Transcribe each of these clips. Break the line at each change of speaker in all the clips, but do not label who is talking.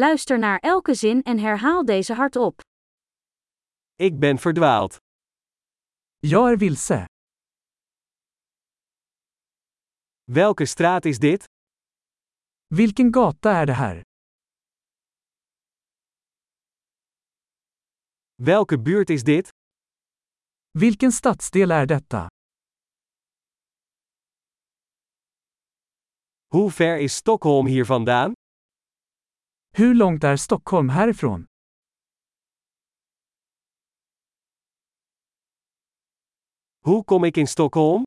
Luister naar elke zin en herhaal deze hardop.
Ik ben verdwaald.
Jag är vilse.
Welke straat is dit?
Vilken gata är det här?
Welke buurt is dit?
Vilken stadsdel är detta?
Hoe ver is Stockholm hier vandaan?
Hur långt är Stockholm härifrån?
Hoe kom ik in Stockholm?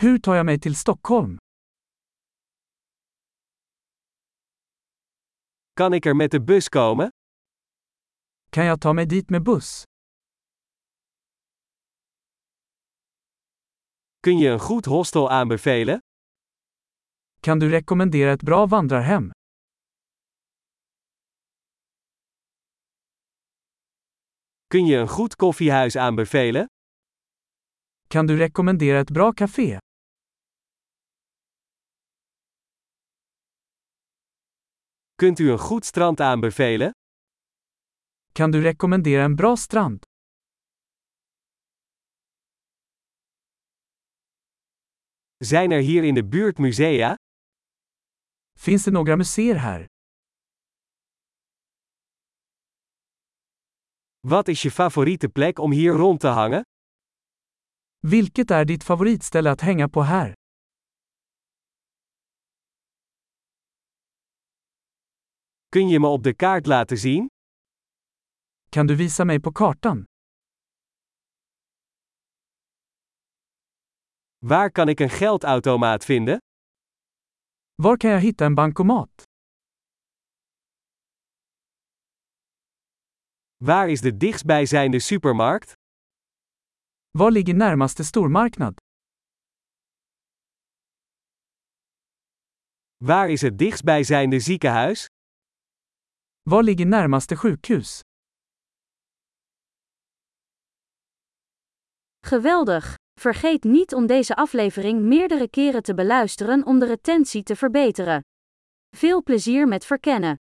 Hur tar jag mig till Stockholm?
Kan ik er met de bus komen?
Kan jag ta mig dit med buss?
Kun je een goed hostel aanbevelen?
Kan du rekommendera ett bra vandrarhem?
Kun je een goed koffiehuis aanbevelen?
Kan du rekommendera ett bra café?
Kunt u een goed strand aanbevelen?
Kan du rekommendera en bra strand?
Zijn er hier in de buurt musea?
Finns det några museer här?
Wat is je favoriete plek om hier rond te hangen?
Vilket är ditt favoritställe att hänga på här?
Kun je me op de kaart laten zien?
Kan du visa mig på kartan?
Waar kan ik een geldautomaat vinden?
Var kan jag hitta en bankomat?
Waar is de dichtstbijzijnde supermarkt?
Var ligger närmaste stormarknad?
Waar is het dichtstbijzijnde ziekenhuis?
Var ligger närmaste sjukhus?
Geweldig! Vergeet niet om deze aflevering meerdere keren te beluisteren om de retentie te verbeteren. Veel plezier met verkennen!